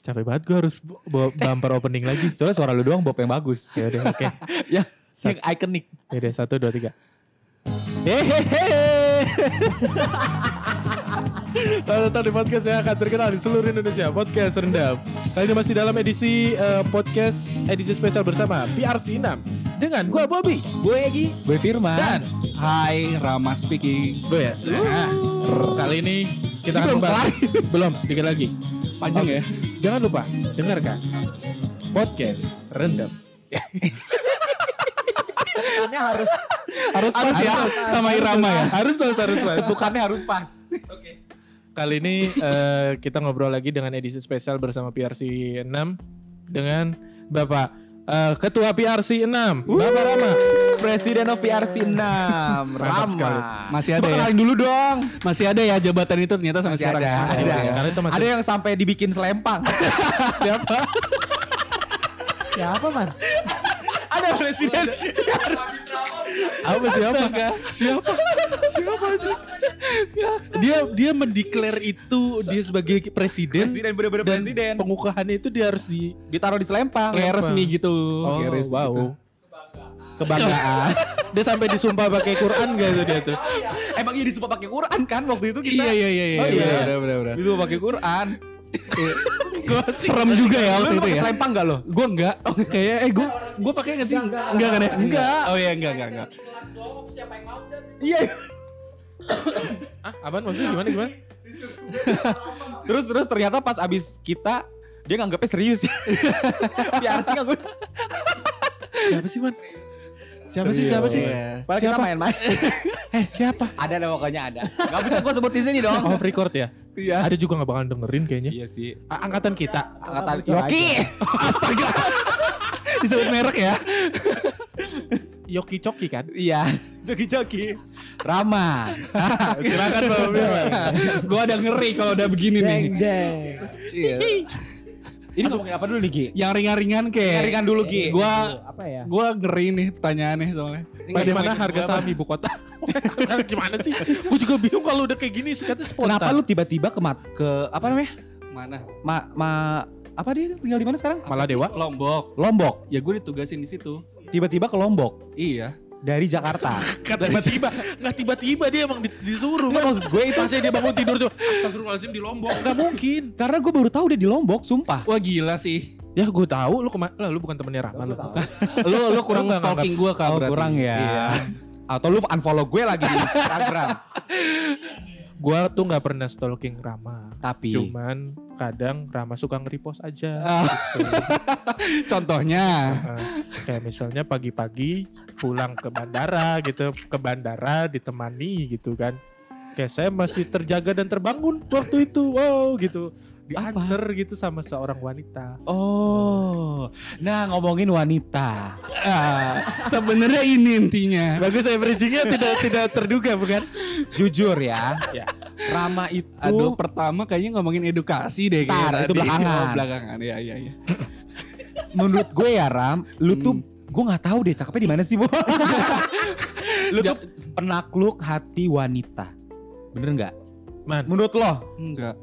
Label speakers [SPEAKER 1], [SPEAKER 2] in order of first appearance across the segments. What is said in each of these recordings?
[SPEAKER 1] capek banget gue harus bawa bumper opening lagi.
[SPEAKER 2] Soalnya suara lu doang Bob yang bagus.
[SPEAKER 1] Ya udah oke.
[SPEAKER 2] ya, yang ikonik.
[SPEAKER 1] Ya udah satu dua tiga.
[SPEAKER 2] Hehehe.
[SPEAKER 1] Selamat datang di podcast yang akan terkenal di seluruh Indonesia Podcast Rendam Kali ini masih dalam edisi eh, podcast edisi spesial bersama PRC 6 Dengan gue Bobby
[SPEAKER 2] Gue Egi, gue Firman.
[SPEAKER 1] Dan
[SPEAKER 3] Hai, Rama speaking.
[SPEAKER 1] gue ya Kali ini kita akan
[SPEAKER 3] Belum
[SPEAKER 1] membahas Belum, dikit lagi
[SPEAKER 3] Panjang
[SPEAKER 1] Oke.
[SPEAKER 3] ya.
[SPEAKER 1] Jangan lupa, dengarkan Podcast Rendam
[SPEAKER 2] Bukannya harus harus
[SPEAKER 3] pas ya, sama irama ya.
[SPEAKER 1] Harus, harus, harus, harus.
[SPEAKER 2] Bukannya harus pas.
[SPEAKER 1] Kali ini eh, kita ngobrol lagi dengan edisi spesial bersama PRC 6 Dengan Bapak eh, Ketua PRC 6 Bapak Rama
[SPEAKER 2] Presiden of PRC 6,
[SPEAKER 1] Mantap sekali.
[SPEAKER 2] Rama.
[SPEAKER 3] Masih ada
[SPEAKER 2] Coba
[SPEAKER 3] ya?
[SPEAKER 2] kenalin dulu dong.
[SPEAKER 3] Masih ada ya jabatan itu ternyata sampai
[SPEAKER 2] Masih
[SPEAKER 3] sekarang.
[SPEAKER 2] ada,
[SPEAKER 3] ya?
[SPEAKER 2] ada.
[SPEAKER 1] Karena itu masih
[SPEAKER 2] Ada yang sampai dibikin selempang.
[SPEAKER 1] siapa?
[SPEAKER 2] Siapa, Man? ada presiden.
[SPEAKER 1] Apa siapa? siapa? Siapa aja? Dia dia mendeklar itu dia sebagai presiden.
[SPEAKER 2] Presiden bener-bener
[SPEAKER 1] dan
[SPEAKER 2] presiden.
[SPEAKER 1] Pengukuhannya itu dia harus di
[SPEAKER 2] Ditaruh di selempang.
[SPEAKER 3] Kayak
[SPEAKER 1] Siapa?
[SPEAKER 3] resmi gitu.
[SPEAKER 1] Oh.
[SPEAKER 3] Kayak resmi
[SPEAKER 1] wow.
[SPEAKER 3] gitu.
[SPEAKER 2] Kebanggaan.
[SPEAKER 1] Dia sampai disumpah pakai Quran gak tuh dia tuh?
[SPEAKER 2] Emang iya disumpah pakai Quran kan waktu itu kita.
[SPEAKER 3] Iya iya iya iya.
[SPEAKER 2] Oh, iya.
[SPEAKER 3] Bener, bener, bener.
[SPEAKER 2] Disumpah pakai Quran.
[SPEAKER 3] Serem juga ya waktu
[SPEAKER 2] Lu
[SPEAKER 3] itu
[SPEAKER 2] pakai
[SPEAKER 3] ya.
[SPEAKER 2] selempang enggak lo?
[SPEAKER 3] Gue enggak. Kayak eh gue gue pakai enggak sih? Enggak kan ya? Enggak. Oh iya enggak enggak enggak.
[SPEAKER 2] Iya.
[SPEAKER 1] Ah, apaan maksudnya gimana gimana?
[SPEAKER 2] Terus terus ternyata pas abis kita dia nganggapnya serius. Biar sih gue.
[SPEAKER 1] Siapa sih man? Siapa sih siapa sih?
[SPEAKER 3] Iya.
[SPEAKER 2] Padahal kita main-main.
[SPEAKER 1] Eh siapa?
[SPEAKER 2] ada lah pokoknya ada. Gak bisa gue sebut di sini dong.
[SPEAKER 1] Off record ya?
[SPEAKER 2] Iya.
[SPEAKER 1] Ada juga gak bakalan dengerin kayaknya.
[SPEAKER 2] Iya sih.
[SPEAKER 1] A- Angkatan kita.
[SPEAKER 2] Angkatan
[SPEAKER 3] Rocky. Astaga. Disebut merek ya.
[SPEAKER 1] Yoki Coki kan?
[SPEAKER 2] Iya. Joki-joki. Rama.
[SPEAKER 1] Silakan Pak
[SPEAKER 3] Gue ada ngeri kalau udah begini nih.
[SPEAKER 2] deng.
[SPEAKER 3] Iya.
[SPEAKER 2] Ini ngomongin apa dulu nih Gi?
[SPEAKER 3] Yang ringan-ringan kayak.
[SPEAKER 2] Ringan dulu Gi.
[SPEAKER 3] Gue
[SPEAKER 2] apa ya?
[SPEAKER 3] Gue ngeri nih pertanyaannya soalnya.
[SPEAKER 1] Bagaimana harga saham ibu kota? Gimana sih? Gue juga bingung kalau udah kayak gini sukanya spontan.
[SPEAKER 2] Kenapa lu tiba-tiba ke mat- ke apa namanya?
[SPEAKER 3] Mana?
[SPEAKER 2] Ma ma apa dia tinggal di mana sekarang?
[SPEAKER 1] Malah dewa.
[SPEAKER 3] Lombok.
[SPEAKER 2] Lombok.
[SPEAKER 3] Ya gue ditugasin di situ.
[SPEAKER 2] Tiba-tiba ke Lombok
[SPEAKER 3] Iya.
[SPEAKER 2] dari Jakarta.
[SPEAKER 1] Kan tiba-tiba nggak tiba-tiba dia emang di- disuruh
[SPEAKER 2] Nggak, maksud gue itu-
[SPEAKER 1] Masih dia bangun tidur tuh Astagfirullahaladzim di Lombok Iya. nggak mungkin
[SPEAKER 2] Karena gue baru tahu dia di Lombok, sumpah.
[SPEAKER 3] Wah gila sih.
[SPEAKER 1] ya gue tahu lu kemana lah lu bukan temennya Rahman lu
[SPEAKER 3] Lu lu kurang
[SPEAKER 1] Lu nggak
[SPEAKER 3] stalking gue kak.
[SPEAKER 2] Oh,
[SPEAKER 3] berarti.
[SPEAKER 2] kurang ya.
[SPEAKER 3] Iya.
[SPEAKER 2] Atau lu unfollow gue lagi di Instagram.
[SPEAKER 1] gue tuh nggak pernah stalking Rama
[SPEAKER 2] Tapi
[SPEAKER 1] cuman kadang Rama suka nge-repost aja
[SPEAKER 3] Ah,
[SPEAKER 1] gitu.
[SPEAKER 3] contohnya.
[SPEAKER 1] Heeh. Eh, kayak misalnya pagi-pagi pulang ke bandara gitu ke bandara ditemani gitu kan kayak saya masih terjaga dan terbangun waktu itu wow gitu diantar gitu sama seorang wanita
[SPEAKER 2] Oh, nah ngomongin wanita.
[SPEAKER 3] Ah, Sebenarnya ini intinya.
[SPEAKER 1] bagus saya bridgingnya tidak tidak terduga bukan
[SPEAKER 2] Jujur ya,
[SPEAKER 1] Ya.
[SPEAKER 2] Rama itu
[SPEAKER 3] Aduh pertama kayaknya ngomongin edukasi deh. kayak
[SPEAKER 2] Ntar, itu
[SPEAKER 3] tadi.
[SPEAKER 2] belakangan.
[SPEAKER 3] Oh, belakangan ya ya ya.
[SPEAKER 2] menurut gue ya Ram, lu tuh gue nggak tahu deh cakepnya di mana sih bu. lu tuh penakluk hati wanita, bener nggak?
[SPEAKER 1] man
[SPEAKER 2] Menurut lo?
[SPEAKER 3] Enggak.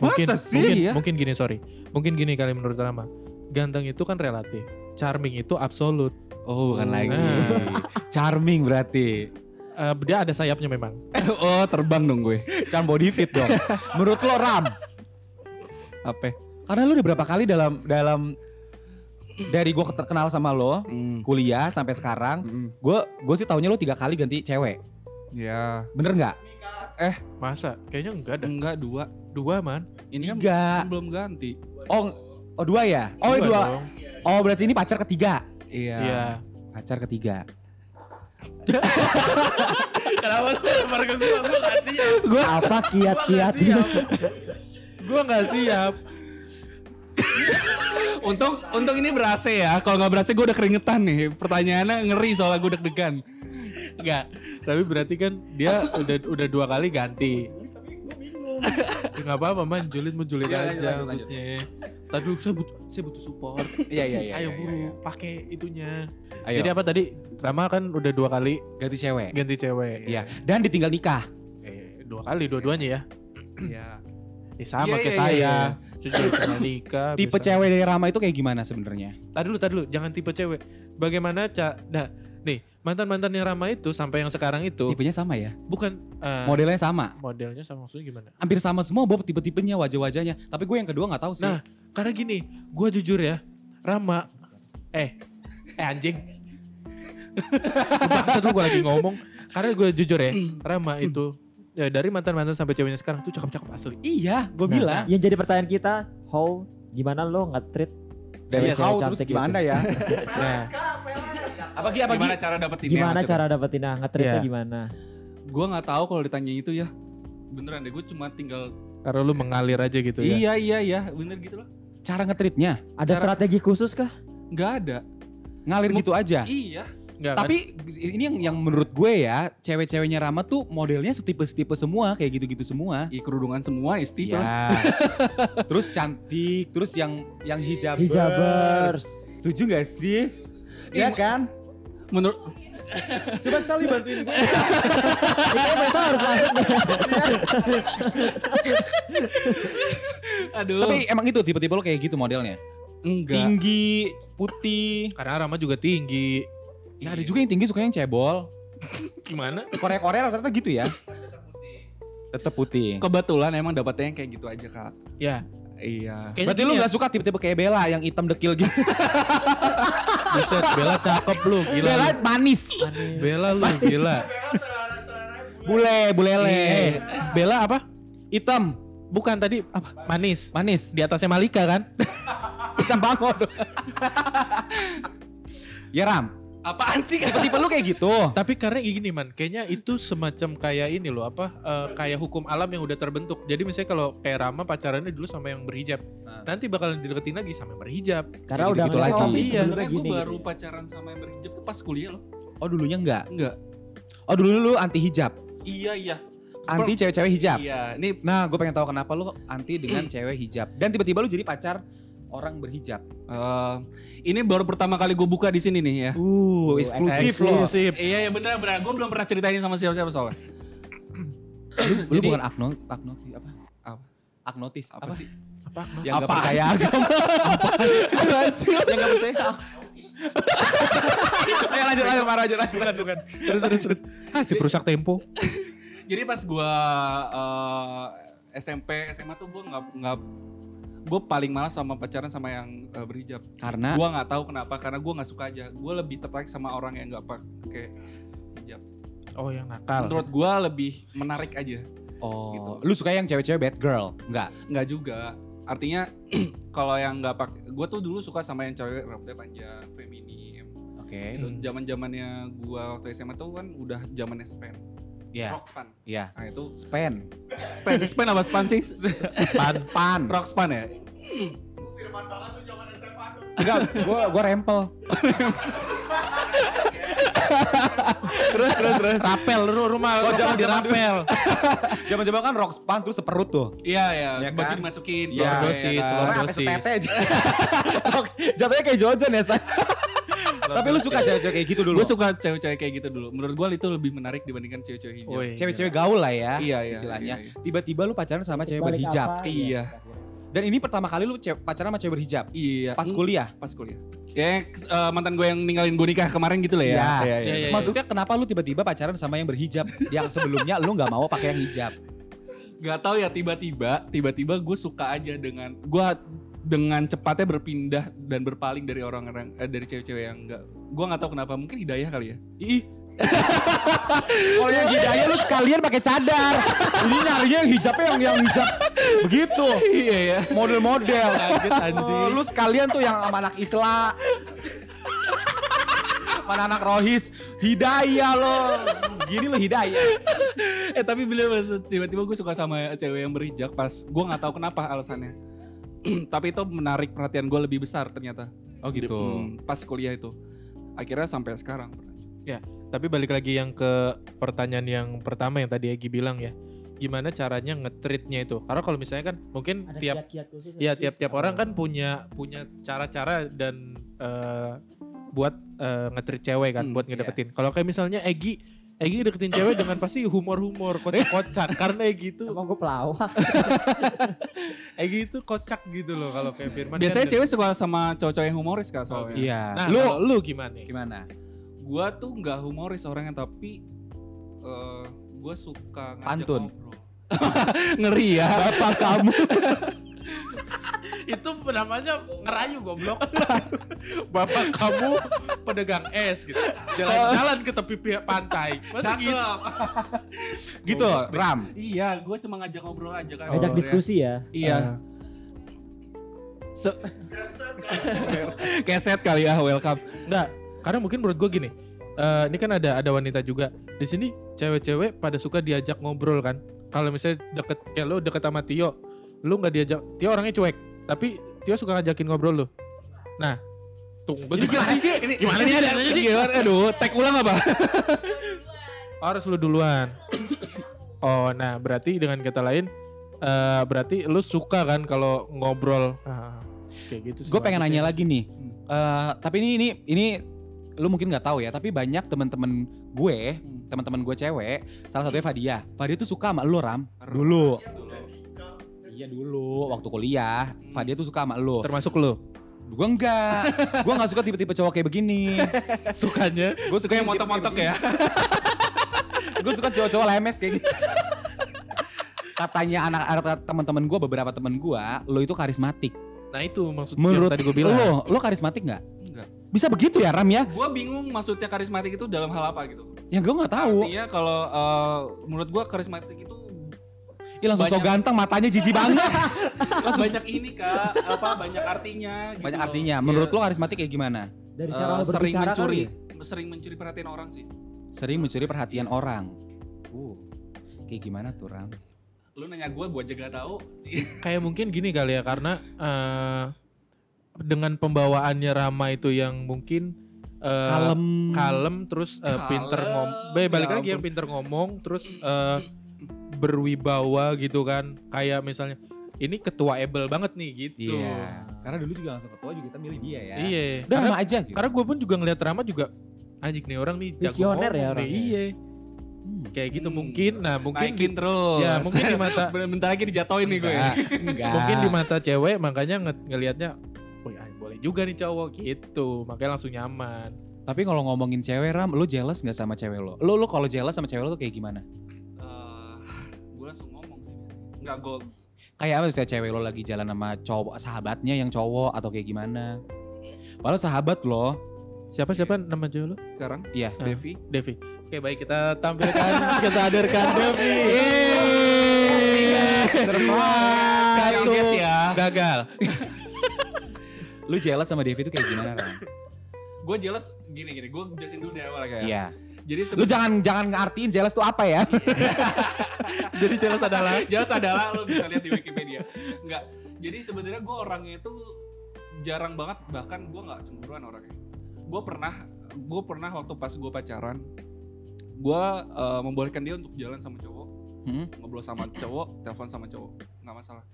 [SPEAKER 1] mungkin
[SPEAKER 2] Masa sih?
[SPEAKER 1] mungkin,
[SPEAKER 3] Iya.
[SPEAKER 1] mungkin gini sorry mungkin gini kali menurut Rama ganteng itu kan relatif charming itu absolut
[SPEAKER 2] Oh bukan lagi.
[SPEAKER 1] Nah.
[SPEAKER 2] Charming berarti.
[SPEAKER 1] Eh, dia ada sayapnya memang
[SPEAKER 3] Oh terbang dong gue.
[SPEAKER 2] Charm body fit dong. menurut lo Ram?
[SPEAKER 3] Apa?
[SPEAKER 2] Karena lu udah berapa kali dalam dalam dari gue kenal sama lo
[SPEAKER 3] Hmm.
[SPEAKER 2] kuliah sampai sekarang,
[SPEAKER 3] Hmm.
[SPEAKER 2] gue gue sih taunya lo tiga kali ganti cewek,
[SPEAKER 3] Ya.
[SPEAKER 2] bener nggak?
[SPEAKER 1] masa kayaknya enggak ada
[SPEAKER 3] Enggak dua.
[SPEAKER 1] dua man
[SPEAKER 3] Ini kan
[SPEAKER 2] Tiga.
[SPEAKER 3] belum ganti.
[SPEAKER 2] Oh, ng- oh dua ya? Oh dua.
[SPEAKER 1] dong.
[SPEAKER 2] Oh berarti ini pacar ketiga.
[SPEAKER 3] Iya.
[SPEAKER 1] iya
[SPEAKER 2] Pacar ketiga.
[SPEAKER 1] kenapa tuh lempar ke gue gue gak siap
[SPEAKER 2] Gua apa kiat-kiatnya?
[SPEAKER 1] gue gak siap
[SPEAKER 3] Untung untung ini berasa ya. Kalau nggak berasa gue udah keringetan nih. Pertanyaannya ngeri soalnya gue deg-degan.
[SPEAKER 1] Enggak. Tapi berarti kan dia udah udah dua kali ganti. Tapi Gak apa-apa man, julid mau julid
[SPEAKER 2] Iya,
[SPEAKER 1] aja
[SPEAKER 2] lanjut, lanjut,
[SPEAKER 1] maksudnya. Tadi saya butuh saya butuh support.
[SPEAKER 2] Iya iya iya.
[SPEAKER 1] Ayo
[SPEAKER 2] iya,
[SPEAKER 1] buru
[SPEAKER 2] iya.
[SPEAKER 1] pakai itunya.
[SPEAKER 2] Ayo.
[SPEAKER 1] Jadi apa tadi? Rama kan udah dua kali
[SPEAKER 2] ganti cewek.
[SPEAKER 1] ganti cewek.
[SPEAKER 2] Iya. Dan ditinggal nikah.
[SPEAKER 1] Eh, dua kali dua-duanya ya.
[SPEAKER 3] Iya.
[SPEAKER 1] Ya, sama kayak
[SPEAKER 3] Iya, iya, iya,
[SPEAKER 1] saya. Sejauh Malika.
[SPEAKER 2] Tipe cewek dari Rama itu kayak gimana sebenarnya?
[SPEAKER 1] Tadi dulu, tadi dulu. Jangan tipe cewek. Bagaimana Ca? Nah, nih mantan-mantan yang Rama itu sampai yang sekarang itu
[SPEAKER 2] Tipenya sama ya?
[SPEAKER 1] bukan eh,
[SPEAKER 2] Modelnya sama.
[SPEAKER 1] modelnya sama maksudnya gimana?
[SPEAKER 2] Hampir sama semua Bob tipe-tipenya, wajah-wajahnya. Tapi gue yang kedua nggak tahu sih.
[SPEAKER 1] Nah, karena gini, gue jujur ya, Rama, eh, eh anjing. Bangsat lu gue lagi ngomong. Karena gue jujur ya, Rama itu ya dari mantan-mantan sampai ceweknya sekarang tuh cakep-cakep asli.
[SPEAKER 2] iya, gue
[SPEAKER 4] Nah,
[SPEAKER 2] bilang.
[SPEAKER 4] Yang jadi pertanyaan kita, how gimana lo nggak treat
[SPEAKER 1] Iya,
[SPEAKER 2] Dari kau
[SPEAKER 4] cewek
[SPEAKER 2] terus
[SPEAKER 4] cantik gitu.
[SPEAKER 2] gimana ya?
[SPEAKER 1] Nah,
[SPEAKER 2] apa Gi, apa Gi?
[SPEAKER 3] Gimana cara dapetinnya?
[SPEAKER 4] gimana
[SPEAKER 3] maksudnya?
[SPEAKER 4] cara dapetinnya ngetreatnya
[SPEAKER 1] Iya.
[SPEAKER 4] gimana?
[SPEAKER 3] Gue nggak tahu kalau ditanya itu ya. Beneran deh, gue cuma tinggal.
[SPEAKER 1] karena lu mengalir aja gitu ya.
[SPEAKER 3] Iya iya iya, bener gitu loh.
[SPEAKER 2] Cara ngetritnya?
[SPEAKER 4] Ada
[SPEAKER 3] Cara-
[SPEAKER 4] strategi khusus kah?
[SPEAKER 3] Nggak ada.
[SPEAKER 2] Ngalir
[SPEAKER 3] Mu-
[SPEAKER 2] gitu aja.
[SPEAKER 3] Iya.
[SPEAKER 1] Enggak kan?
[SPEAKER 2] Tapi ini yang yang menurut gue ya, cewek-ceweknya Rama tuh modelnya setipe-setipe semua, kayak gitu-gitu semua.
[SPEAKER 3] Ih, kerudungan semua istilah.
[SPEAKER 2] Iya. terus cantik, terus yang yang hijabers.
[SPEAKER 4] Hijabers.
[SPEAKER 2] Setuju gak sih?
[SPEAKER 3] Ih,
[SPEAKER 2] Iya kan?
[SPEAKER 3] Menurut
[SPEAKER 2] Coba sekali bantuin gue.
[SPEAKER 3] Iya,
[SPEAKER 4] Ini besok harus masuk nih.
[SPEAKER 3] aduh.
[SPEAKER 2] Tapi emang itu tipe-tipe lo kayak gitu modelnya?
[SPEAKER 3] enggak.
[SPEAKER 2] Tinggi, putih.
[SPEAKER 1] kan? Karena Rama juga tinggi.
[SPEAKER 2] Ya ada juga yang tinggi suka yang cebol.
[SPEAKER 1] Gimana?
[SPEAKER 2] Korea-Korea rata-rata gitu ya. Tetep putih.
[SPEAKER 3] Kebetulan emang dapatnya yang kayak gitu aja, Kak.
[SPEAKER 1] Ya.
[SPEAKER 3] Iya.
[SPEAKER 1] Kayaknya
[SPEAKER 2] Berarti
[SPEAKER 1] gini
[SPEAKER 2] lu
[SPEAKER 1] ya,
[SPEAKER 2] gak suka tipe-tipe kayak Bella yang hitam dekil gitu.
[SPEAKER 1] buset, Bella cakep lu, gila.
[SPEAKER 2] Bella
[SPEAKER 1] lu.
[SPEAKER 2] manis.
[SPEAKER 1] Bella lu, gila.
[SPEAKER 2] Bule, bulele.
[SPEAKER 1] Eh, Bella apa?
[SPEAKER 2] Hitam,
[SPEAKER 1] Bukan tadi apa? Manis.
[SPEAKER 2] manis.
[SPEAKER 1] Di atasnya Malika kan?
[SPEAKER 2] Kecam banget. ya Ram,
[SPEAKER 3] Apaan sih, Kak?
[SPEAKER 2] tipe lu kayak gitu.
[SPEAKER 1] Tapi karena gini man, kayaknya itu semacam kayak ini loh apa eh, kayak hukum alam yang udah terbentuk. Jadi misalnya kalau kayak Rama pacarannya dulu sama yang berhijab,
[SPEAKER 2] Ah.
[SPEAKER 1] nanti bakalan dideketin lagi sama yang berhijab.
[SPEAKER 4] Karena
[SPEAKER 2] Kayak
[SPEAKER 4] udah
[SPEAKER 2] gitu-gitu
[SPEAKER 4] ngeliat,
[SPEAKER 2] lagi.
[SPEAKER 4] oh, ini
[SPEAKER 1] Iya.
[SPEAKER 4] sebenarnya
[SPEAKER 3] Sebenarnya gue
[SPEAKER 4] gini.
[SPEAKER 3] baru pacaran sama yang berhijab tuh pas kuliah loh.
[SPEAKER 2] Oh dulunya enggak.
[SPEAKER 3] Enggak.
[SPEAKER 2] Oh dulu lu anti hijab.
[SPEAKER 3] Iya iya.
[SPEAKER 2] Anti cewek-cewek hijab.
[SPEAKER 3] Iya. Ini
[SPEAKER 2] Nah gue pengen tahu kenapa lu anti dengan cewek hijab. Dan tiba-tiba lu jadi pacar orang berhijab.
[SPEAKER 3] eh, ini baru pertama kali gue buka di sini nih ya.
[SPEAKER 2] Uh, lo.
[SPEAKER 4] eksklusif loh.
[SPEAKER 1] Eksklusif.
[SPEAKER 3] Iya iya bener bener. Gue belum pernah ceritain sama siapa-siapa soalnya.
[SPEAKER 2] Lu bukan akno, aknoti apa?
[SPEAKER 3] Apa?
[SPEAKER 2] Agnotis
[SPEAKER 3] Apa, sih?
[SPEAKER 1] Apa?
[SPEAKER 2] Yang nggak
[SPEAKER 3] Apa?
[SPEAKER 2] percaya agama. Yang nggak percaya agama. Ayo lanjut lanjut Pak, lanjut lanjut. lanjut.
[SPEAKER 1] Terus terus terus. Ah, si perusak tempo.
[SPEAKER 3] Jadi pas eh, gue SMP SMA tuh gue nggak nggak gue paling malas sama pacaran sama yang eh, berhijab.
[SPEAKER 2] Karena
[SPEAKER 3] Gue nggak tahu kenapa karena gue nggak suka aja. Gue lebih tertarik sama orang yang nggak pakai hijab.
[SPEAKER 1] Oh, yang nakal.
[SPEAKER 3] Menurut gue lebih menarik aja.
[SPEAKER 2] oh,
[SPEAKER 3] Gitu.
[SPEAKER 2] lu suka yang cewek-cewek bad girl? Enggak.
[SPEAKER 3] Nggak juga. Artinya kalau yang nggak pakai, gue tuh dulu suka sama yang cewek rambutnya panjang, feminim.
[SPEAKER 2] Oke.
[SPEAKER 3] Itu
[SPEAKER 1] Hmm.
[SPEAKER 3] zaman zamannya gue Gitu. waktu SMA tuh kan udah zamannya span,
[SPEAKER 2] Iya,
[SPEAKER 3] rock span.
[SPEAKER 2] iya.
[SPEAKER 3] Nah itu
[SPEAKER 2] Span.
[SPEAKER 3] span, span apa span sih?
[SPEAKER 2] Span span.
[SPEAKER 3] Rock span ya.
[SPEAKER 2] Enggak, gua gua rempel.
[SPEAKER 1] terus terus terus. Rapel lu rumah lu
[SPEAKER 2] Oh, jangan
[SPEAKER 1] rumah dirapel.
[SPEAKER 2] Zaman-zaman kan rock span terus seperut tuh.
[SPEAKER 3] Iya iya.
[SPEAKER 2] Ya
[SPEAKER 3] Baju
[SPEAKER 2] kan?
[SPEAKER 3] dimasukin.
[SPEAKER 2] Iya.
[SPEAKER 3] ya
[SPEAKER 1] Dosis,
[SPEAKER 3] kan?
[SPEAKER 1] luar
[SPEAKER 2] Orang sampai
[SPEAKER 1] dosis.
[SPEAKER 2] setete aja. Rock- Jatuhnya kayak Jojon ya, San. Tapi lu suka cewek-cewek kayak gitu dulu.
[SPEAKER 3] Gue suka cewek-cewek kayak gitu dulu. Menurut gue itu lebih menarik dibandingkan cewek-cewek hijab.
[SPEAKER 1] Woi,
[SPEAKER 2] cewek-cewek gaul lah ya
[SPEAKER 3] Iya iya.
[SPEAKER 2] Oh, iya? istilahnya.
[SPEAKER 3] Iya.
[SPEAKER 2] Tiba-tiba lu pacaran sama cewek
[SPEAKER 4] gitu. Balik
[SPEAKER 2] berhijab.
[SPEAKER 4] apa?
[SPEAKER 3] Iya.
[SPEAKER 2] Dan ini pertama kali lu cewek- pacaran sama cewek berhijab.
[SPEAKER 3] Iya.
[SPEAKER 2] Pas
[SPEAKER 3] Mm,
[SPEAKER 2] kuliah.
[SPEAKER 3] Pas kuliah. Ya eh, mantan gue yang ninggalin gue nikah kemarin gitu lah ya.
[SPEAKER 2] Iya.
[SPEAKER 1] Iya, iya, iya.
[SPEAKER 2] Maksudnya kenapa lu tiba-tiba pacaran sama yang berhijab yang sebelumnya lu nggak mau pakai yang hijab?
[SPEAKER 3] Gak tau ya tiba-tiba, tiba-tiba gue suka aja dengan gue dengan cepatnya berpindah dan berpaling dari orang-orang eh, dari cewek-cewek yang enggak gue nggak tahu kenapa mungkin hidayah kali ya
[SPEAKER 2] Ih. Kalau yang hijabnya lu sekalian pakai cadar. Ini nyarinya yang hijabnya yang yang hijab begitu.
[SPEAKER 3] iya ya
[SPEAKER 2] Model-model. Oh, lu sekalian tuh yang sama anak Isla. Sama anak Rohis, Hidayah lo. Gini lo Hidayah.
[SPEAKER 3] eh tapi bener tiba-tiba gue suka sama cewek yang berijak pas gue nggak tahu kenapa alasannya tapi itu menarik perhatian gue lebih besar ternyata
[SPEAKER 2] Oh
[SPEAKER 3] Hmm, pas kuliah itu akhirnya sampai sekarang
[SPEAKER 1] Tapi balik lagi yang ke pertanyaan yang pertama yang tadi Egi bilang ya. Gimana caranya ngetreatnya itu? Karena kalau misalnya kan mungkin
[SPEAKER 4] Ada
[SPEAKER 1] tiap
[SPEAKER 4] kiat-kiat khusus
[SPEAKER 1] Ya
[SPEAKER 4] nggak sih?
[SPEAKER 1] tiap-tiap orang kan punya punya cara-cara dan eh, buat eh, ngetreat cewek kan
[SPEAKER 3] Hmm,
[SPEAKER 1] buat ngedapetin. Kalau kayak misalnya Egi Egi deketin cewek dengan pasti humor-humor kocak-kocak karena Egi itu
[SPEAKER 4] Emang gue pelawak.
[SPEAKER 1] Egi itu kocak gitu loh kalau kayak Firman kan
[SPEAKER 3] Biasanya
[SPEAKER 1] de-
[SPEAKER 3] cewek suka sama cowok-cowok yang humoris kan soalnya.
[SPEAKER 2] Iya.
[SPEAKER 1] Nah,
[SPEAKER 2] lu
[SPEAKER 1] lu lu gimana?
[SPEAKER 2] gimana?
[SPEAKER 3] Gua tuh nggak humoris orangnya tapi eh gua suka ngajak
[SPEAKER 2] Pantun.
[SPEAKER 3] ngobrol. Ngeri ya. Bapak kamu.
[SPEAKER 1] itu namanya ngerayu goblok. Bapak kamu pedagang es gitu. Jalan-jalan ke tepi pi- pantai. Masa gitu?
[SPEAKER 3] Cakep.
[SPEAKER 2] Gitu, Ram.
[SPEAKER 3] Iya, gua cuma ngajak ngobrol aja kan.
[SPEAKER 4] Ajak
[SPEAKER 3] sebenarnya.
[SPEAKER 4] diskusi ya.
[SPEAKER 3] Iya. Se- Keset kali ya, welcome.
[SPEAKER 1] Enggak. Karena mungkin menurut gue gini. eh, ini kan ada ada wanita juga. Di sini cewek-cewek pada suka diajak ngobrol kan. Kalau misalnya deket kayak lo deket sama Tio, lu nggak diajak. Tio orangnya cuek, tapi Tio suka ngajakin ngobrol lo. Nah, tunggu gimana sih?
[SPEAKER 3] Ini gitu.
[SPEAKER 1] Gimana sih adanya sih?
[SPEAKER 3] Gimana? Aduh, tag ulang apa?
[SPEAKER 1] Harus lu duluan. Oh, nah berarti dengan kata lain, eh berarti lu suka kan kalau ngobrol. Ah, kayak gitu. sih
[SPEAKER 2] Gue pengen
[SPEAKER 1] maksudnya.
[SPEAKER 2] nanya lagi nih. Eh, tapi ini ini ini lu mungkin nggak tahu ya, tapi banyak teman-teman gue, teman-teman gue cewek, salah satunya Fadia. Fadia tuh suka sama lu, Ram. Dulu. Iya dulu, waktu kuliah, Fadia tuh suka sama lu.
[SPEAKER 1] Termasuk lu.
[SPEAKER 2] Gue enggak. Gue enggak suka tipe-tipe cowok kayak begini.
[SPEAKER 1] Sukanya
[SPEAKER 2] Gue suka yang
[SPEAKER 3] motok-motok ya.
[SPEAKER 2] gue suka cowok-cowok lemes kayak gitu. Katanya anak anak teman-teman gue beberapa teman gue, lo itu karismatik.
[SPEAKER 1] Nah itu maksudnya
[SPEAKER 2] Menurut
[SPEAKER 1] tadi gue bilang.
[SPEAKER 2] lo, lo karismatik nggak?
[SPEAKER 3] Enggak.
[SPEAKER 2] Bisa begitu ya Ram ya?
[SPEAKER 3] Gua bingung maksudnya karismatik itu dalam hal apa gitu.
[SPEAKER 2] Ya gue nggak tahu.
[SPEAKER 3] Artinya kalau eh, menurut gua karismatik itu
[SPEAKER 2] Ih langsung so
[SPEAKER 3] Banyak-
[SPEAKER 2] ganteng matanya jijik banget.
[SPEAKER 3] banyak ini kak, apa banyak artinya. Gitu
[SPEAKER 2] Banyak
[SPEAKER 3] loh.
[SPEAKER 2] artinya.
[SPEAKER 3] Iya.
[SPEAKER 2] Menurut lo karismatik kayak gimana?
[SPEAKER 4] Dari
[SPEAKER 3] Eh,
[SPEAKER 4] cara lo
[SPEAKER 3] sering
[SPEAKER 4] berbicara kali
[SPEAKER 3] mencuri,
[SPEAKER 4] ya?
[SPEAKER 3] sering mencuri perhatian orang sih.
[SPEAKER 2] Sering mencuri perhatian orang. Uh, kayak gimana tuh Ram?
[SPEAKER 3] Lu nanya gua, gua aja gak tahu.
[SPEAKER 1] kayak mungkin gini kali ya karena eh, dengan pembawaannya Rama itu yang mungkin eh,
[SPEAKER 2] Kalem.
[SPEAKER 1] kalem, terus eh,
[SPEAKER 3] Kalem,
[SPEAKER 1] pinter ngomong balik
[SPEAKER 3] ya
[SPEAKER 1] lagi yang
[SPEAKER 3] ampun.
[SPEAKER 1] pinter ngomong terus eh, berwibawa gitu kan kayak misalnya ini ketua able banget nih gitu
[SPEAKER 2] Iya. Karena dulu juga langsung ketua juga kita milih dia ya.
[SPEAKER 1] iya
[SPEAKER 2] Udah
[SPEAKER 1] karena
[SPEAKER 2] sama aja gitu.
[SPEAKER 1] karena gue pun juga ngeliat Rama juga anjing nih orang nih jago
[SPEAKER 4] Visioner ya
[SPEAKER 1] ngomong nih."
[SPEAKER 4] orangnya.
[SPEAKER 1] iya
[SPEAKER 2] Hmm.
[SPEAKER 1] kayak gitu
[SPEAKER 3] Hmm.
[SPEAKER 1] mungkin nah mungkin
[SPEAKER 3] Naikin terus.
[SPEAKER 1] ya mungkin di mata
[SPEAKER 3] Bentar lagi dijatoin nih ya. gue.
[SPEAKER 2] Enggak. ya. Enggak.
[SPEAKER 1] mungkin di mata cewek makanya nge- ngelihatnya Wih, ah, boleh juga nih cowok gitu makanya langsung nyaman
[SPEAKER 2] Tapi kalau ngomongin cewek Ram, lo jealous nggak sama cewek lo? Lo lo kalau jealous sama cewek lo tuh kayak gimana?
[SPEAKER 3] Eh, gue langsung ngomong sih. Enggak, gue
[SPEAKER 2] Kayak apa sih cewek lo lagi jalan sama cowok sahabatnya yang cowok atau kayak gimana? Padahal sahabat lo,
[SPEAKER 1] siapa siapa nama cowok lu
[SPEAKER 3] sekarang
[SPEAKER 2] iya.
[SPEAKER 1] Ah.
[SPEAKER 3] Devi.
[SPEAKER 1] Devi oke baik kita tampilkan kita hadirkan Devi
[SPEAKER 2] Iya. Surprise.
[SPEAKER 1] satu
[SPEAKER 3] Yes, ya.
[SPEAKER 1] gagal
[SPEAKER 2] Lo jealous sama Devi tuh kayak gimana Ram?
[SPEAKER 3] Gue jelas gini gini. Gue jelasin dulu dari awal kayak.
[SPEAKER 2] Iya.
[SPEAKER 3] ya. Jadi
[SPEAKER 2] Lu
[SPEAKER 3] sebelum
[SPEAKER 2] jangan jangan ngartiin jealous tuh apa ya?
[SPEAKER 1] jadi jelas adalah
[SPEAKER 3] jelas adalah lo bisa lihat di Wikipedia. Enggak. Jadi sebenarnya gue orangnya itu jarang banget bahkan gue nggak cemburuan orangnya. Gue pernah gue pernah waktu pas gue pacaran gue eh, membolehkan dia untuk jalan sama cowok
[SPEAKER 2] Hmm?
[SPEAKER 3] ngobrol sama cowok, telepon sama cowok, nggak masalah.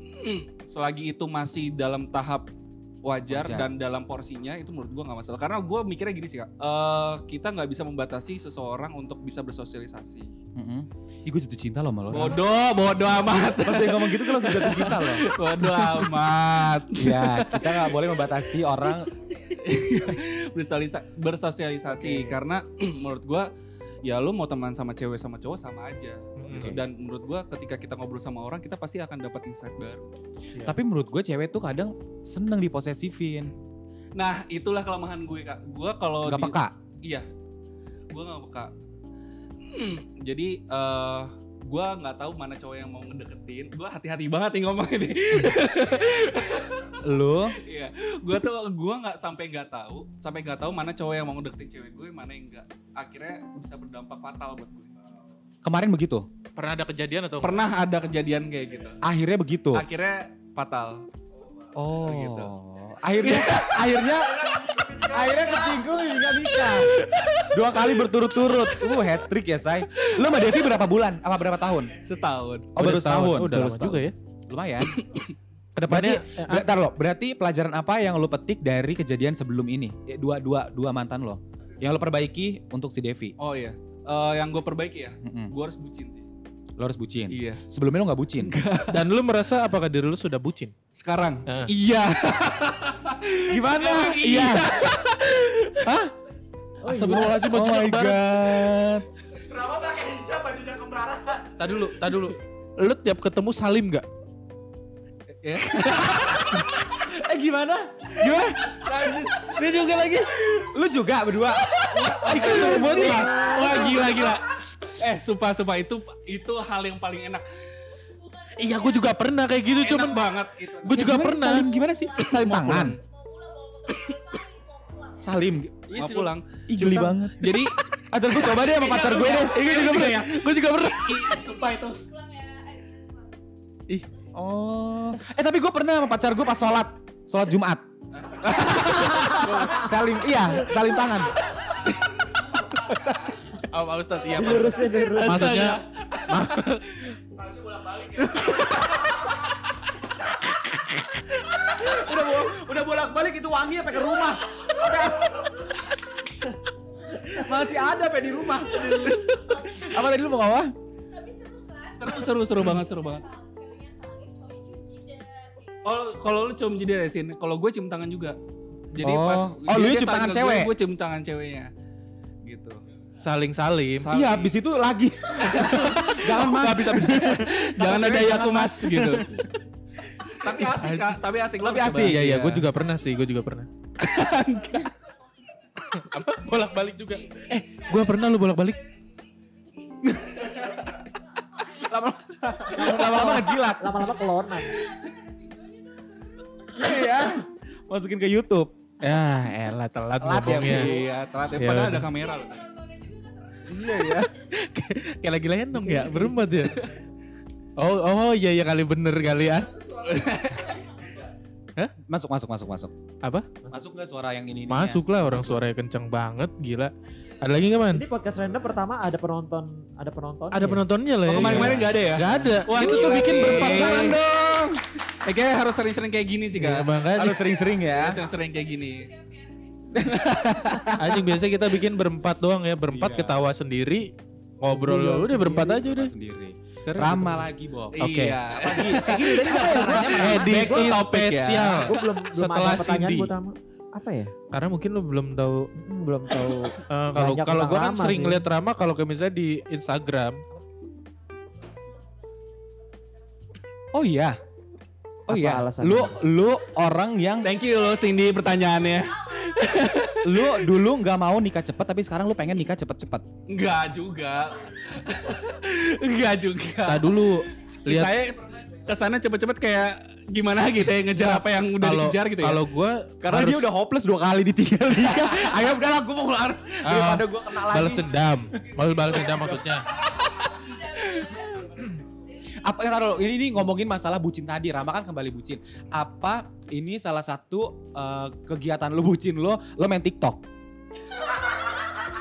[SPEAKER 3] Selagi itu masih dalam tahap wajar,
[SPEAKER 2] Wajar.
[SPEAKER 3] dan dalam porsinya itu menurut gua nggak masalah. Karena gua mikirnya gini sih kak, eh, kita nggak bisa membatasi seseorang untuk bisa bersosialisasi.
[SPEAKER 2] Mm-mm. Ih gue jatuh cinta loh sama lo. Ram.
[SPEAKER 3] Bodoh, bodoh amat,
[SPEAKER 2] Pas dia ngomong gitu tuh langsung jatuh cinta loh.
[SPEAKER 3] bodoh amat.
[SPEAKER 2] Iya, kita nggak boleh membatasi orang.
[SPEAKER 3] Bersosialisa- bersosialisasi karena menurut gua ya lu mau teman sama cewek sama cowok sama aja. gitu.
[SPEAKER 2] Oke.
[SPEAKER 3] Dan menurut gua ketika kita ngobrol sama orang kita pasti akan dapat insight baru.
[SPEAKER 2] Tapi menurut gue cewek tuh kadang seneng diposesifin.
[SPEAKER 3] Nah itulah kelemahan gue kak. Gua kalau
[SPEAKER 2] Gak
[SPEAKER 3] di-
[SPEAKER 2] peka.
[SPEAKER 3] Iya, gue nggak peka. Jadi eh gue nggak tahu mana cowok yang mau ngedeketin. Gue hati-hati banget nih ngomong ini.
[SPEAKER 2] Lo
[SPEAKER 3] Iya, gue tuh gue nggak sampai nggak tahu, sampai nggak tahu mana cowok yang mau ngedeketin cewek gue, mana yang nggak. Akhirnya bisa berdampak fatal buat gue.
[SPEAKER 2] kemarin begitu.
[SPEAKER 1] Hmm. pernah ada kejadian atau
[SPEAKER 3] Pernah ada kejadian kayak gitu.
[SPEAKER 2] Akhirnya begitu.
[SPEAKER 3] Akhirnya fatal.
[SPEAKER 2] Oh.
[SPEAKER 3] Gitu.
[SPEAKER 2] Akhirnya akhirnya akhirnya kesinggung hingga nikah. Dua kali berturut-turut. Uh, hat trick ya, Say. Lu sama Devi berapa bulan? Apa berapa tahun?
[SPEAKER 3] Setahun.
[SPEAKER 2] Oh, baru setahun.
[SPEAKER 1] udah
[SPEAKER 3] Baru
[SPEAKER 1] lama juga ya
[SPEAKER 2] Lumayan. Kedepannya, eh,
[SPEAKER 1] Berarti,
[SPEAKER 2] bentar lo, berarti pelajaran apa yang lo petik dari kejadian sebelum ini? Ya, Dua, dua, dua mantan lo. Yang lo perbaiki untuk si Devi.
[SPEAKER 3] Oh iya. eh, yang gue perbaiki ya,
[SPEAKER 2] Mm-mm.
[SPEAKER 3] gue harus bucin sih.
[SPEAKER 2] Lo harus bucin.
[SPEAKER 3] Iya.
[SPEAKER 2] Sebelumnya lo nggak bucin.
[SPEAKER 1] Dan lu merasa apakah diri lu sudah bucin?
[SPEAKER 3] Sekarang.
[SPEAKER 1] Heeh.
[SPEAKER 3] Iya.
[SPEAKER 1] Gimana?
[SPEAKER 3] Sekarang iya.
[SPEAKER 2] Oh,
[SPEAKER 1] Astagfirullahaladzim, bajunya kembaran.
[SPEAKER 2] iya. god.
[SPEAKER 5] Kenapa pakai hijab bajunya kembaran?
[SPEAKER 1] Tadi dulu, tadi dulu. Lu tiap ketemu salim gak?
[SPEAKER 3] Ya.
[SPEAKER 4] Eh gimana?
[SPEAKER 2] Gimana? Dia juga lagi. Lu juga berdua.
[SPEAKER 1] Buat
[SPEAKER 2] sih.
[SPEAKER 1] lah.
[SPEAKER 3] Wah gila gila. Eh sumpah sumpah itu itu hal yang paling enak.
[SPEAKER 1] Iya, gue juga pernah kayak gitu,
[SPEAKER 3] Enak
[SPEAKER 1] cuman
[SPEAKER 3] banget itu.
[SPEAKER 1] gue juga
[SPEAKER 2] Gimana
[SPEAKER 1] pernah.
[SPEAKER 2] Salim gimana sih? Salim
[SPEAKER 3] Mau
[SPEAKER 2] tangan.
[SPEAKER 6] mau pulang mau ketemu Sari mau
[SPEAKER 2] Salim.
[SPEAKER 6] pulang
[SPEAKER 3] Mau pulang.
[SPEAKER 2] Ih geli banget.
[SPEAKER 3] Jadi
[SPEAKER 2] Atau gue coba deh sama pacar gue deh.
[SPEAKER 1] Gue juga pernah ya. Gue juga pernah.
[SPEAKER 3] i- sumpah itu.
[SPEAKER 6] pulang ya ayo kita pulang
[SPEAKER 2] Oh. Eh tapi gue pernah sama pacar gue pas sholat. Sholat Jumat. salim, iya, salim tangan.
[SPEAKER 1] Oh, Pak Ustadz, iya. Pak Ustadz.
[SPEAKER 4] Dilurusin dilurusin.
[SPEAKER 1] Maksudnya,
[SPEAKER 2] udah bo- udah bolak-balik itu wangi sampai ke rumah. Masih ada pe di rumah. Apa tadi lu mau ngomong?
[SPEAKER 6] tapi
[SPEAKER 3] Seru seru
[SPEAKER 6] seru kan
[SPEAKER 3] seru banget seru banget.
[SPEAKER 6] ceweknya saling cowoknya cium jidat
[SPEAKER 3] Oh kalau lu cium jadi resin, kalau gue cium tangan juga. Jadi
[SPEAKER 2] Oh.
[SPEAKER 3] pas
[SPEAKER 2] Oh, lu cium
[SPEAKER 3] dia saling
[SPEAKER 2] tangan
[SPEAKER 3] ke gue,
[SPEAKER 2] cewek?
[SPEAKER 3] Gue cium tangan ceweknya. Gitu.
[SPEAKER 1] saling-salim.
[SPEAKER 3] Saling.
[SPEAKER 2] Iya, habis itu lagi. Jangan mas. Habis habis.
[SPEAKER 3] Jangan ada
[SPEAKER 2] ya
[SPEAKER 3] ya aku mas gitu. tapi asik kak, tapi asik.
[SPEAKER 2] Tapi
[SPEAKER 3] Lu harus
[SPEAKER 2] asik.
[SPEAKER 3] coba.
[SPEAKER 1] Iya, iya, gue juga pernah sih, gue juga pernah. Apa? Bolak-balik juga. Eh, gue pernah lu bolak-balik.
[SPEAKER 2] Lama-lama ngejilat.
[SPEAKER 4] Lama-lama kelonan.
[SPEAKER 2] Iya. Masukin ke YouTube.
[SPEAKER 1] Ya, elah telat ngomongnya.
[SPEAKER 3] Iya, telat ya.
[SPEAKER 1] Iya,
[SPEAKER 3] Padahal
[SPEAKER 1] bener.
[SPEAKER 3] ada kamera loh. tadi.
[SPEAKER 6] kan
[SPEAKER 2] Iya ya.
[SPEAKER 1] Kayak lagi lenong ya, berempat ya. Oh, oh iya iya kali bener kali ya.
[SPEAKER 2] Masuk masuk masuk masuk.
[SPEAKER 1] Apa?
[SPEAKER 2] Masuk nggak suara yang ini?
[SPEAKER 1] Masuklah orang suaranya kenceng banget, gila. Ada lagi nggak man?
[SPEAKER 4] Jadi podcast random pertama ada penonton, ada penonton. Iya.
[SPEAKER 1] Ada penontonnya lah.
[SPEAKER 3] Oh,
[SPEAKER 1] ya.
[SPEAKER 3] kemarin-kemarin gak ada ya?
[SPEAKER 1] Gak ada. itu tuh
[SPEAKER 3] gila
[SPEAKER 1] bikin
[SPEAKER 3] sih.
[SPEAKER 1] berpasangan dong.
[SPEAKER 3] Eh, kayaknya harus sering-sering kayak gini sih
[SPEAKER 1] Ya,
[SPEAKER 3] kak.
[SPEAKER 1] makanya
[SPEAKER 2] Harus sering-sering ya.
[SPEAKER 3] Harus sering-sering kayak gini.
[SPEAKER 1] anjing biasa kita bikin berempat doang ya, berempat
[SPEAKER 2] Iya.
[SPEAKER 1] ketawa sendiri, ngobrol
[SPEAKER 4] Iya,
[SPEAKER 1] udah
[SPEAKER 4] sendiri.
[SPEAKER 1] berempat aja udah.
[SPEAKER 2] Sendiri. gitu.
[SPEAKER 1] Sekarang
[SPEAKER 2] Rama lagi Bob.
[SPEAKER 1] Oke.
[SPEAKER 3] Iya.
[SPEAKER 2] Lagi. Eh, gini tadi nggak pertanyaannya
[SPEAKER 1] kita-
[SPEAKER 2] mana?
[SPEAKER 1] edisi
[SPEAKER 2] Back to topic ya.
[SPEAKER 1] spesial.
[SPEAKER 4] Gue belum belum
[SPEAKER 1] Setelah
[SPEAKER 4] ada pertanyaan
[SPEAKER 1] Cindy.
[SPEAKER 4] gue sama apa ya?
[SPEAKER 1] Karena mungkin lu belum tahu
[SPEAKER 4] Hmm, belum tahu.
[SPEAKER 1] eh, kalau
[SPEAKER 4] Banyak
[SPEAKER 1] kalau
[SPEAKER 4] tentang
[SPEAKER 1] gua kan
[SPEAKER 4] Rama
[SPEAKER 1] sering
[SPEAKER 4] sih.
[SPEAKER 1] ngeliat Rama kalau kayak misalnya di Instagram.
[SPEAKER 2] Oh iya. Oh
[SPEAKER 4] Apa
[SPEAKER 2] iya.
[SPEAKER 4] alasannya?
[SPEAKER 2] Lu lu orang yang
[SPEAKER 3] Thank you loh Cindy pertanyaannya.
[SPEAKER 2] lu dulu nggak mau nikah cepet tapi sekarang lu pengen nikah cepet-cepet.
[SPEAKER 3] Enggak juga. Enggak juga.
[SPEAKER 1] Nah dulu lihat
[SPEAKER 3] Saya kesana cepet-cepet kayak gimana gitu ya ngejar apa yang udah
[SPEAKER 1] kalau
[SPEAKER 3] dikejar gitu ya.
[SPEAKER 1] kalau gua
[SPEAKER 2] Karena
[SPEAKER 1] harus
[SPEAKER 2] dia udah hopeless dua kali ditinggal nikah. Ayo udahlah gue mau keluar daripada gue kena lagi.
[SPEAKER 1] balas dendam. Mau balas dendam maksudnya.
[SPEAKER 6] kan?
[SPEAKER 2] Apa yang taruh ini, ini ngomongin masalah bucin tadi. Rama kan kembali bucin. Apa ini salah satu eh, kegiatan lu bucin lo? Lo main TikTok.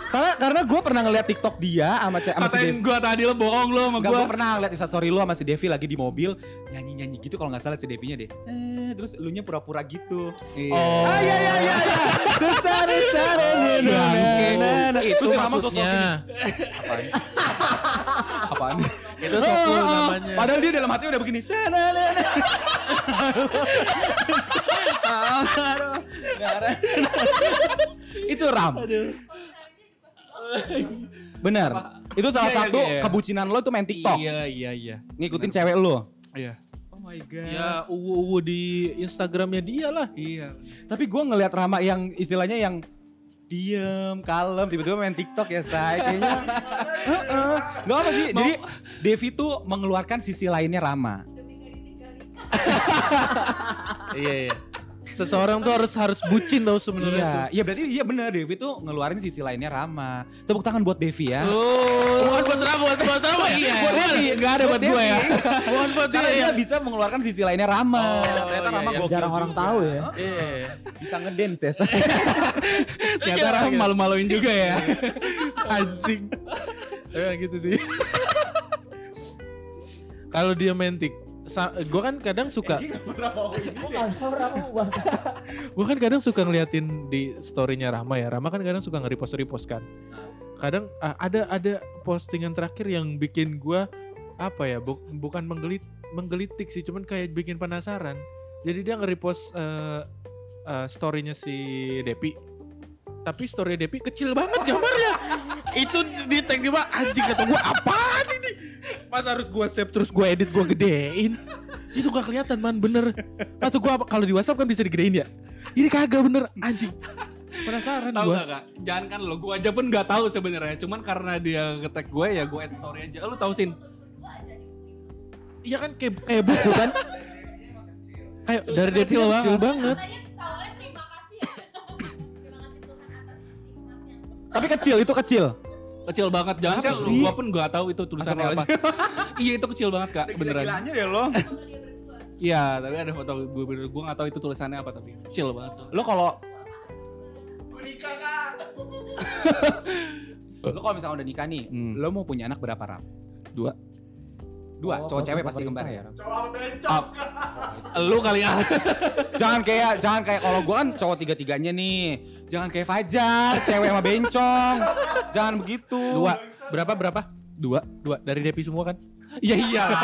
[SPEAKER 2] Karena karena gue pernah ngeliat TikTok dia sama ce- sama si
[SPEAKER 3] Katain
[SPEAKER 2] Devi.
[SPEAKER 3] gua tadi lo bohong lo sama
[SPEAKER 2] Enggak,
[SPEAKER 3] gua.
[SPEAKER 2] gue pernah ngeliat instastory lu sama si Devi lagi di mobil nyanyi-nyanyi gitu kalau nggak salah si Devinya deh. Eh, terus lu nya pura-pura gitu.
[SPEAKER 3] Oh.
[SPEAKER 2] Ah, iya, iya, iya, iya. Susana, Susana, na, na, na, na. nah, Itu
[SPEAKER 1] Ya, Itu
[SPEAKER 2] sih Rama sosok
[SPEAKER 1] maksudnya.
[SPEAKER 2] Apaan? Apaan?
[SPEAKER 1] Itu sokul namanya.
[SPEAKER 2] Oh, Padahal dia dalam hati udah begini. Sana, na, na. Itu Ram. Bener. Itu salah
[SPEAKER 3] Iya, iya,
[SPEAKER 2] satu
[SPEAKER 3] iya.
[SPEAKER 2] kebucinan lo itu main TikTok.
[SPEAKER 3] Iya iya iya.
[SPEAKER 2] Ngikutin cewek lo.
[SPEAKER 3] Iya.
[SPEAKER 2] Oh my god.
[SPEAKER 1] Ya uwu-uwu di Instagramnya dia lah.
[SPEAKER 3] Iya.
[SPEAKER 2] Tapi gue ngelihat Rama yang istilahnya yang diem, kalem, tiba-tiba main TikTok ya say. Kayaknya Heeh. nggak apa sih. Jadi Devi tuh mengeluarkan sisi lainnya Rama.
[SPEAKER 6] demi gak ditinggal nikah
[SPEAKER 1] iya iya. Seseorang tuh harus harus bucin tau sebenarnya. tuh.
[SPEAKER 2] Iya, iya berarti iya bener Devi tuh ngeluarin sisi lainnya Rama. Tepuk tangan buat Devi ya.
[SPEAKER 3] Oh.
[SPEAKER 1] Bukan buat Rama, bukan buat Rama. Iya.
[SPEAKER 2] Buat Devi,
[SPEAKER 3] Enggak ada buat gua ya.
[SPEAKER 1] Bukan buat
[SPEAKER 2] Karena
[SPEAKER 1] dia.
[SPEAKER 2] dia bisa mengeluarkan sisi lainnya Rama.
[SPEAKER 1] Iya, Oh,
[SPEAKER 2] Ternyata
[SPEAKER 1] iya,
[SPEAKER 2] Rama
[SPEAKER 1] iya.
[SPEAKER 2] gokil
[SPEAKER 4] Jarang orang
[SPEAKER 2] juga.
[SPEAKER 4] tahu ya.
[SPEAKER 1] Iya.
[SPEAKER 2] Bisa ngedance ya. say.
[SPEAKER 3] Ternyata orang malu-maluin juga ya.
[SPEAKER 1] anjing emang gitu sih kalau dia main tik gue kan kadang suka
[SPEAKER 4] Gue nggak tahu Rama mau bahas apa.
[SPEAKER 1] gue kan kadang suka ngeliatin di storynya Rama ya Rama kan kadang suka nge-repost repost kan kadang ah, ada ada postingan terakhir yang bikin gua apa ya bu- bukan menggelit menggelitik sih cuman kayak bikin penasaran jadi dia nge-repost eh, eh, story-nya si Depi tapi story Depi kecil banget gambarnya itu di tag di bawah, anjing kata gua apaan ini mas harus gua save terus gua edit gua gedein itu gak kelihatan man bener atau gua apa- kalau di WhatsApp kan bisa digedein ya ini kagak bener anjing penasaran
[SPEAKER 3] Tahu
[SPEAKER 1] gua
[SPEAKER 3] gak kak? Jangan kan lo, gue aja pun gak tahu sebenarnya. Cuman karena dia ngetek gue ya gue add story aja. Lo tau sin?
[SPEAKER 1] Iya kan kayak kayak buku kan? kayak dari
[SPEAKER 3] Kecil
[SPEAKER 1] kecil
[SPEAKER 3] Kan? banget.
[SPEAKER 1] kecil banget.
[SPEAKER 6] Katanya awalnya terima kasih ya. terima kasih Tuhan atas nikmat yang
[SPEAKER 2] Tapi kecil, itu kecil.
[SPEAKER 3] Kecil banget. Jangan kan
[SPEAKER 2] Kenapa
[SPEAKER 3] lo,
[SPEAKER 2] sih?
[SPEAKER 3] gue pun gak tahu itu tulisannya apa. iya itu kecil banget kak, beneran.
[SPEAKER 2] deh lo.
[SPEAKER 6] foto dia berdua.
[SPEAKER 3] Iya, tapi ada foto gue bener. Gue gak tahu itu tulisannya apa tapi kecil banget.
[SPEAKER 2] Lo kalau
[SPEAKER 5] Gue nikah kak.
[SPEAKER 2] lo kalau misalnya udah nikah nih,
[SPEAKER 3] Hmm.
[SPEAKER 2] lo mau punya anak berapa ram?
[SPEAKER 3] Dua.
[SPEAKER 2] Dua,
[SPEAKER 4] Oh,
[SPEAKER 2] cowok cewek
[SPEAKER 4] foto
[SPEAKER 2] pasti
[SPEAKER 4] pemerintah
[SPEAKER 2] kembar ya.
[SPEAKER 4] Ram?
[SPEAKER 5] Cowok bencong.
[SPEAKER 3] Lo kali ya.
[SPEAKER 2] jangan kayak jangan kayak kalau gua kan cowok tiga tiganya nih. Jangan kayak Fajar, cewek sama bencong. jangan begitu.
[SPEAKER 1] Dua. Berapa berapa? Dua. Dua dari Depi semua kan?
[SPEAKER 3] Ya iyalah.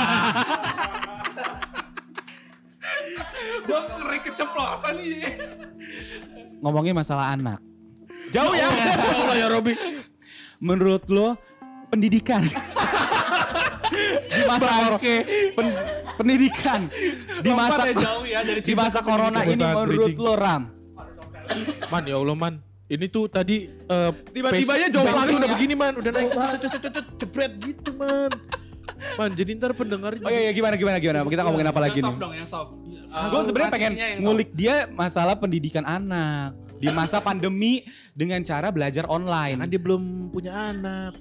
[SPEAKER 3] gue kering keceplosan nih.
[SPEAKER 2] Ngomongin masalah anak. Jauh ya.
[SPEAKER 1] Allah ya Robi.
[SPEAKER 2] Menurut lo pendidikan di masa kor- pen- pendidikan di masa
[SPEAKER 3] Lompatnya jauh ya dari
[SPEAKER 2] di masa corona
[SPEAKER 1] Coba
[SPEAKER 2] ini
[SPEAKER 1] saat
[SPEAKER 2] menurut
[SPEAKER 1] bridging.
[SPEAKER 2] lo ram
[SPEAKER 1] Man ya Allah man. Ini tuh tadi eh,
[SPEAKER 2] Tiba-tibanya
[SPEAKER 1] pace-
[SPEAKER 2] jauh
[SPEAKER 1] pace
[SPEAKER 2] banget
[SPEAKER 1] udah
[SPEAKER 2] ya.
[SPEAKER 1] begini man, udah naik cet- cet- cet- cet- cet- jebret gitu man. Man jadi ntar pendengar
[SPEAKER 2] oh iya, iya gimana gimana gimana kita ngomongin apa lagi nih
[SPEAKER 3] yang Iya, soft dong, yang soft.
[SPEAKER 2] gue sebenarnya pengen
[SPEAKER 3] Transisinya yang soft.
[SPEAKER 2] ngulik dia masalah pendidikan anak di masa pandemi dengan cara belajar
[SPEAKER 1] kan
[SPEAKER 2] online
[SPEAKER 1] dia belum punya anak.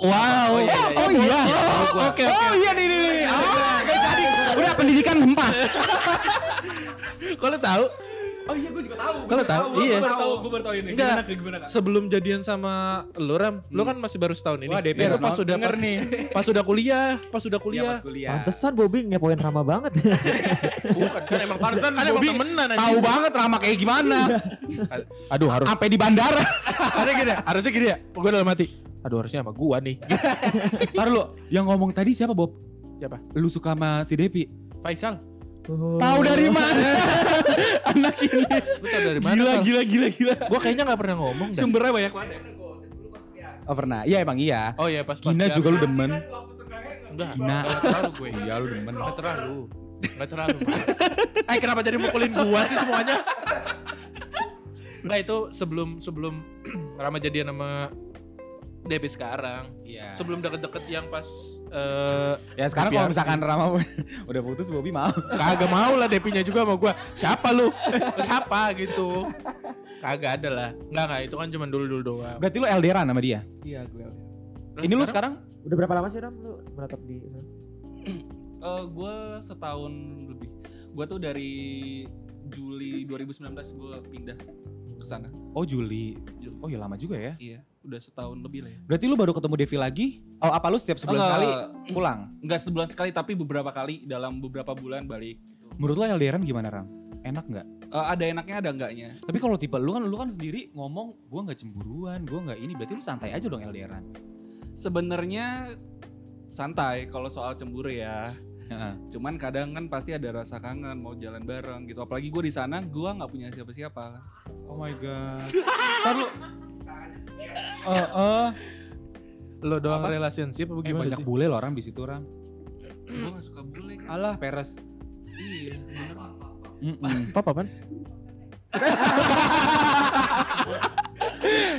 [SPEAKER 3] Wow.
[SPEAKER 2] Oh, oh iya. Oh, Oke. Oh iya nih nih nih. Ah, nggak jadi. Udah pendidikan hempas.
[SPEAKER 1] Kalau tahu
[SPEAKER 5] Oh iya gue juga tahu.
[SPEAKER 1] Kalau tahu, iya.
[SPEAKER 3] Gue baru tahu, gue baru tahu ini.
[SPEAKER 1] Enggak.
[SPEAKER 3] Gimana, gimana kak?
[SPEAKER 1] sebelum jadian sama lo Ram, lo kan masih baru setahun ini.
[SPEAKER 2] Wah, DP
[SPEAKER 1] Itu
[SPEAKER 2] harus
[SPEAKER 1] pas
[SPEAKER 2] nonton.
[SPEAKER 1] udah
[SPEAKER 2] Denger
[SPEAKER 1] pas,
[SPEAKER 2] nih.
[SPEAKER 1] pas udah kuliah, pas udah
[SPEAKER 2] Iya
[SPEAKER 1] kuliah.
[SPEAKER 2] pas kuliah.
[SPEAKER 4] Pantesan Bobi ngepoin Rama banget.
[SPEAKER 1] Bukan kan emang pantesan kan emang
[SPEAKER 2] Bobby
[SPEAKER 1] temenan anjing.
[SPEAKER 2] Tahu banget Rama kayak gimana.
[SPEAKER 1] Aduh harus
[SPEAKER 2] Sampai di bandara.
[SPEAKER 1] harusnya gini ya, harusnya gini ya. Gue dalam hati. Aduh harusnya sama gua nih.
[SPEAKER 2] Ntar lu, yang ngomong tadi siapa Bob?
[SPEAKER 1] Siapa?
[SPEAKER 2] Lu suka sama si Depi?
[SPEAKER 1] Faisal,
[SPEAKER 2] Tahu dari mana? Anak ini.
[SPEAKER 1] lu tau dari mana?
[SPEAKER 2] Gila
[SPEAKER 1] Sal?
[SPEAKER 2] gila gila gila.
[SPEAKER 1] Gua kayaknya gak pernah ngomong dah.
[SPEAKER 3] Sumbernya banyak banget. ya?
[SPEAKER 2] Oh pernah. Iya emang iya.
[SPEAKER 1] Oh iya pas pas
[SPEAKER 2] Gina
[SPEAKER 1] dia-
[SPEAKER 2] juga lu demen.
[SPEAKER 1] Enggak,
[SPEAKER 2] Gina.
[SPEAKER 1] Gak terlalu gue.
[SPEAKER 2] Iya lu demen.
[SPEAKER 1] Gak terlalu. Gak terlalu. eh kenapa jadi mukulin gua sih semuanya? Enggak itu sebelum sebelum Rama jadian sama Depi sekarang.
[SPEAKER 2] Iya.
[SPEAKER 1] Sebelum deket-deket yang pas eh
[SPEAKER 2] Ya sekarang kalau
[SPEAKER 1] Depi
[SPEAKER 2] misalkan Rama udah putus Bobi mau.
[SPEAKER 1] kagak mau lah Depinya juga sama gua. Siapa lu? Lu Siapa gitu. Kagak ada lah. Enggak enggak itu kan cuma dulu-dulu doang.
[SPEAKER 2] Berarti lu elderan sama dia.
[SPEAKER 3] Iya gue.
[SPEAKER 2] Ini lu sekarang
[SPEAKER 4] Udah berapa lama sih Ram lu menetap di sana?
[SPEAKER 3] Eh gue setahun lebih. Gue tuh dari Juli 2019 gue pindah ke sana.
[SPEAKER 2] Oh Juli.
[SPEAKER 3] Juli.
[SPEAKER 2] Oh ya lama juga ya.
[SPEAKER 3] Iya, udah setahun lebih lah ya.
[SPEAKER 2] Berarti lu baru ketemu Devi lagi? Oh apa lu setiap sebulan
[SPEAKER 3] Enggak.
[SPEAKER 2] sekali pulang?
[SPEAKER 3] Enggak sebulan sekali tapi beberapa kali dalam beberapa bulan balik.
[SPEAKER 2] Menurut lo LDRan gimana Ram? Enak nggak?
[SPEAKER 3] Eh ada enaknya ada enggaknya.
[SPEAKER 2] Tapi kalau tipe lu kan lu kan sendiri ngomong gua nggak cemburuan, gua nggak ini. Berarti lu santai aja dong LDRan.
[SPEAKER 3] Sebenarnya santai kalau soal cemburu ya.
[SPEAKER 2] Heeh.
[SPEAKER 3] Cuman kadang kan pasti ada rasa kangen mau jalan bareng gitu. Apalagi gue di sana gue nggak punya siapa-siapa.
[SPEAKER 2] Oh my god. Ntar lu. Eh, eh.
[SPEAKER 1] Lo doang
[SPEAKER 3] Apa?
[SPEAKER 1] relationship apa
[SPEAKER 2] Eh
[SPEAKER 1] gimana
[SPEAKER 2] banyak
[SPEAKER 1] sih?
[SPEAKER 2] bule loh Ram di situ Ram.
[SPEAKER 3] Gue gak suka bule kan.
[SPEAKER 2] Alah peres.
[SPEAKER 3] Iya, bener.
[SPEAKER 2] Mm-mm.
[SPEAKER 1] Apa apaan?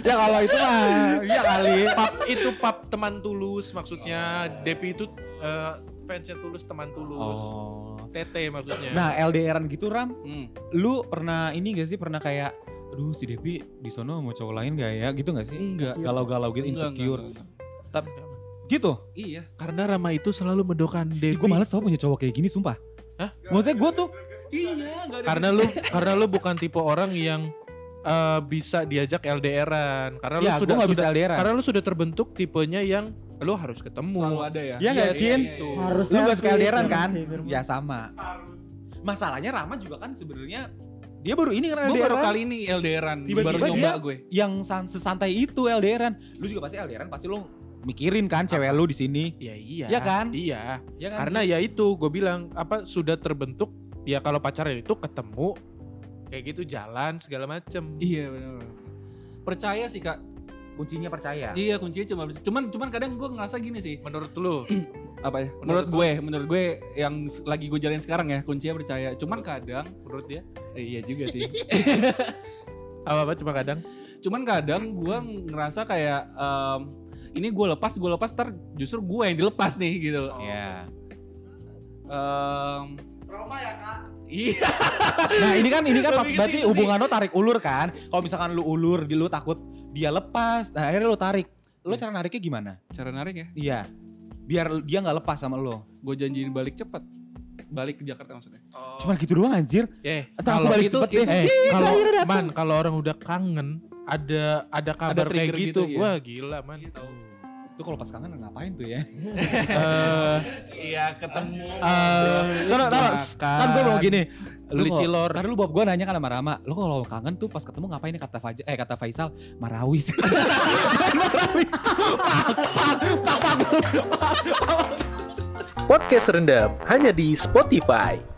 [SPEAKER 2] ya kalau itu mah iya kali.
[SPEAKER 1] Pap itu pap teman tulus maksudnya. Depi itu eh, fansnya tulus teman tulus.
[SPEAKER 2] Oh.
[SPEAKER 1] Tete maksudnya.
[SPEAKER 2] Nah LDRan gitu Ram
[SPEAKER 3] Hmm.
[SPEAKER 2] lu pernah ini gak sih pernah kayak aduh si Depi di sono mau cowok lain gak ya gitu gak
[SPEAKER 4] Iya.
[SPEAKER 2] sih
[SPEAKER 3] Enggak.
[SPEAKER 2] galau-galau gitu
[SPEAKER 3] Enggak,
[SPEAKER 2] insecure
[SPEAKER 3] enggak, enggak.
[SPEAKER 2] Tap- gitu
[SPEAKER 3] Iya.
[SPEAKER 1] karena Rama itu selalu mendoakan
[SPEAKER 2] Iya, Ih,
[SPEAKER 1] Devi.
[SPEAKER 2] gue males tau punya cowok kayak gini sumpah
[SPEAKER 1] Hah?
[SPEAKER 2] maksudnya gue tuh
[SPEAKER 3] Iya, enggak ada.
[SPEAKER 1] Karena lu karena lu bukan tipe orang yang eh, bisa diajak LDR-an. Karena lu
[SPEAKER 2] ya gue
[SPEAKER 1] sudah
[SPEAKER 2] gak bisa
[SPEAKER 1] sudah-
[SPEAKER 2] LDR
[SPEAKER 1] karena lu sudah terbentuk tipenya yang lu harus ketemu.
[SPEAKER 3] selalu ada ya.
[SPEAKER 2] Iya nggak, Sin?
[SPEAKER 4] Harus
[SPEAKER 2] lu gak suka
[SPEAKER 4] selfish
[SPEAKER 2] LDRan
[SPEAKER 4] sama
[SPEAKER 2] kan
[SPEAKER 4] si Firman.
[SPEAKER 2] ya sama
[SPEAKER 5] Harus.
[SPEAKER 2] masalahnya Rama juga kan sebenarnya Dia baru ini karena
[SPEAKER 3] Gue baru
[SPEAKER 2] LDR-an.
[SPEAKER 3] kali ini LDRan,
[SPEAKER 2] Tiba-tiba
[SPEAKER 3] baru nyoba
[SPEAKER 2] dia-
[SPEAKER 3] gue.
[SPEAKER 2] yang san- sesantai itu LDRan. Lu juga pasti LDRan pasti lu mikirin kan cewek lu di sini.
[SPEAKER 1] Ya iya.
[SPEAKER 2] Iya kan?
[SPEAKER 1] Iya.
[SPEAKER 2] Ya kan?
[SPEAKER 1] Karena ya itu gue bilang apa sudah terbentuk ya kalau pacaran itu ketemu kayak gitu jalan segala macem.
[SPEAKER 3] Iya benar. Percaya sih kak.
[SPEAKER 2] kuncinya percaya.
[SPEAKER 3] Iya kuncinya cuma cuman cuman kadang gue ngerasa gini sih.
[SPEAKER 1] Menurut lu?
[SPEAKER 3] Apa ya?
[SPEAKER 1] Menurut
[SPEAKER 3] Menurut gue, menurut gue yang s- lagi gue jalanin sekarang ya kuncinya percaya. Cuman kadang,
[SPEAKER 1] menurut dia?
[SPEAKER 3] eh, iya juga sih.
[SPEAKER 1] Apa apa cuma kadang?
[SPEAKER 3] cuman kadang gue ngerasa kayak em, ini gue lepas, gue lepas, ntar justru gue yang dilepas nih gitu.
[SPEAKER 2] Iya.
[SPEAKER 3] Em,
[SPEAKER 5] Trauma ya kak.
[SPEAKER 3] iya.
[SPEAKER 2] Nah, ini kan ini kan pas
[SPEAKER 3] Tapi
[SPEAKER 2] berarti
[SPEAKER 3] gitu sih.
[SPEAKER 2] hubungan lo tarik ulur kan. Kalau misalkan lu ulur, di lu takut dia lepas, nah akhirnya lu tarik. Lu
[SPEAKER 1] Iya.
[SPEAKER 2] cara nariknya gimana?
[SPEAKER 3] Cara narik ya,
[SPEAKER 2] Iya. Biar dia nggak lepas sama lo.
[SPEAKER 3] gue janjiin balik cepet. Balik ke Jakarta maksudnya.
[SPEAKER 5] Oh.
[SPEAKER 2] Cuman gitu doang anjir.
[SPEAKER 1] Eh,
[SPEAKER 2] Atau aku
[SPEAKER 1] kalau-
[SPEAKER 2] balik
[SPEAKER 3] itu-
[SPEAKER 2] cepet deh.
[SPEAKER 3] itu-
[SPEAKER 1] eh, kalau man kalau orang udah kangen ada ada kabar
[SPEAKER 3] Ada
[SPEAKER 1] kayak
[SPEAKER 3] trigger
[SPEAKER 1] gitu,
[SPEAKER 3] gitu, ya.
[SPEAKER 1] wah gila man.
[SPEAKER 3] Iya tahu.
[SPEAKER 2] Itu kalau pas kangen ngapain tuh ya?
[SPEAKER 1] Eh,
[SPEAKER 3] Iya ketemu.
[SPEAKER 1] eh,
[SPEAKER 2] Taruh, taruh. Kan gue mau gini. Lu
[SPEAKER 1] beli
[SPEAKER 2] kalau-
[SPEAKER 1] cilor.
[SPEAKER 2] Ntar lu Bob gue nanya kan sama Rama, lu kalau kangen tuh pas ketemu ngapain ya kata Faja, eh kata Faisal, marawis. marawis.
[SPEAKER 7] Podcast Rendam hanya di Spotify.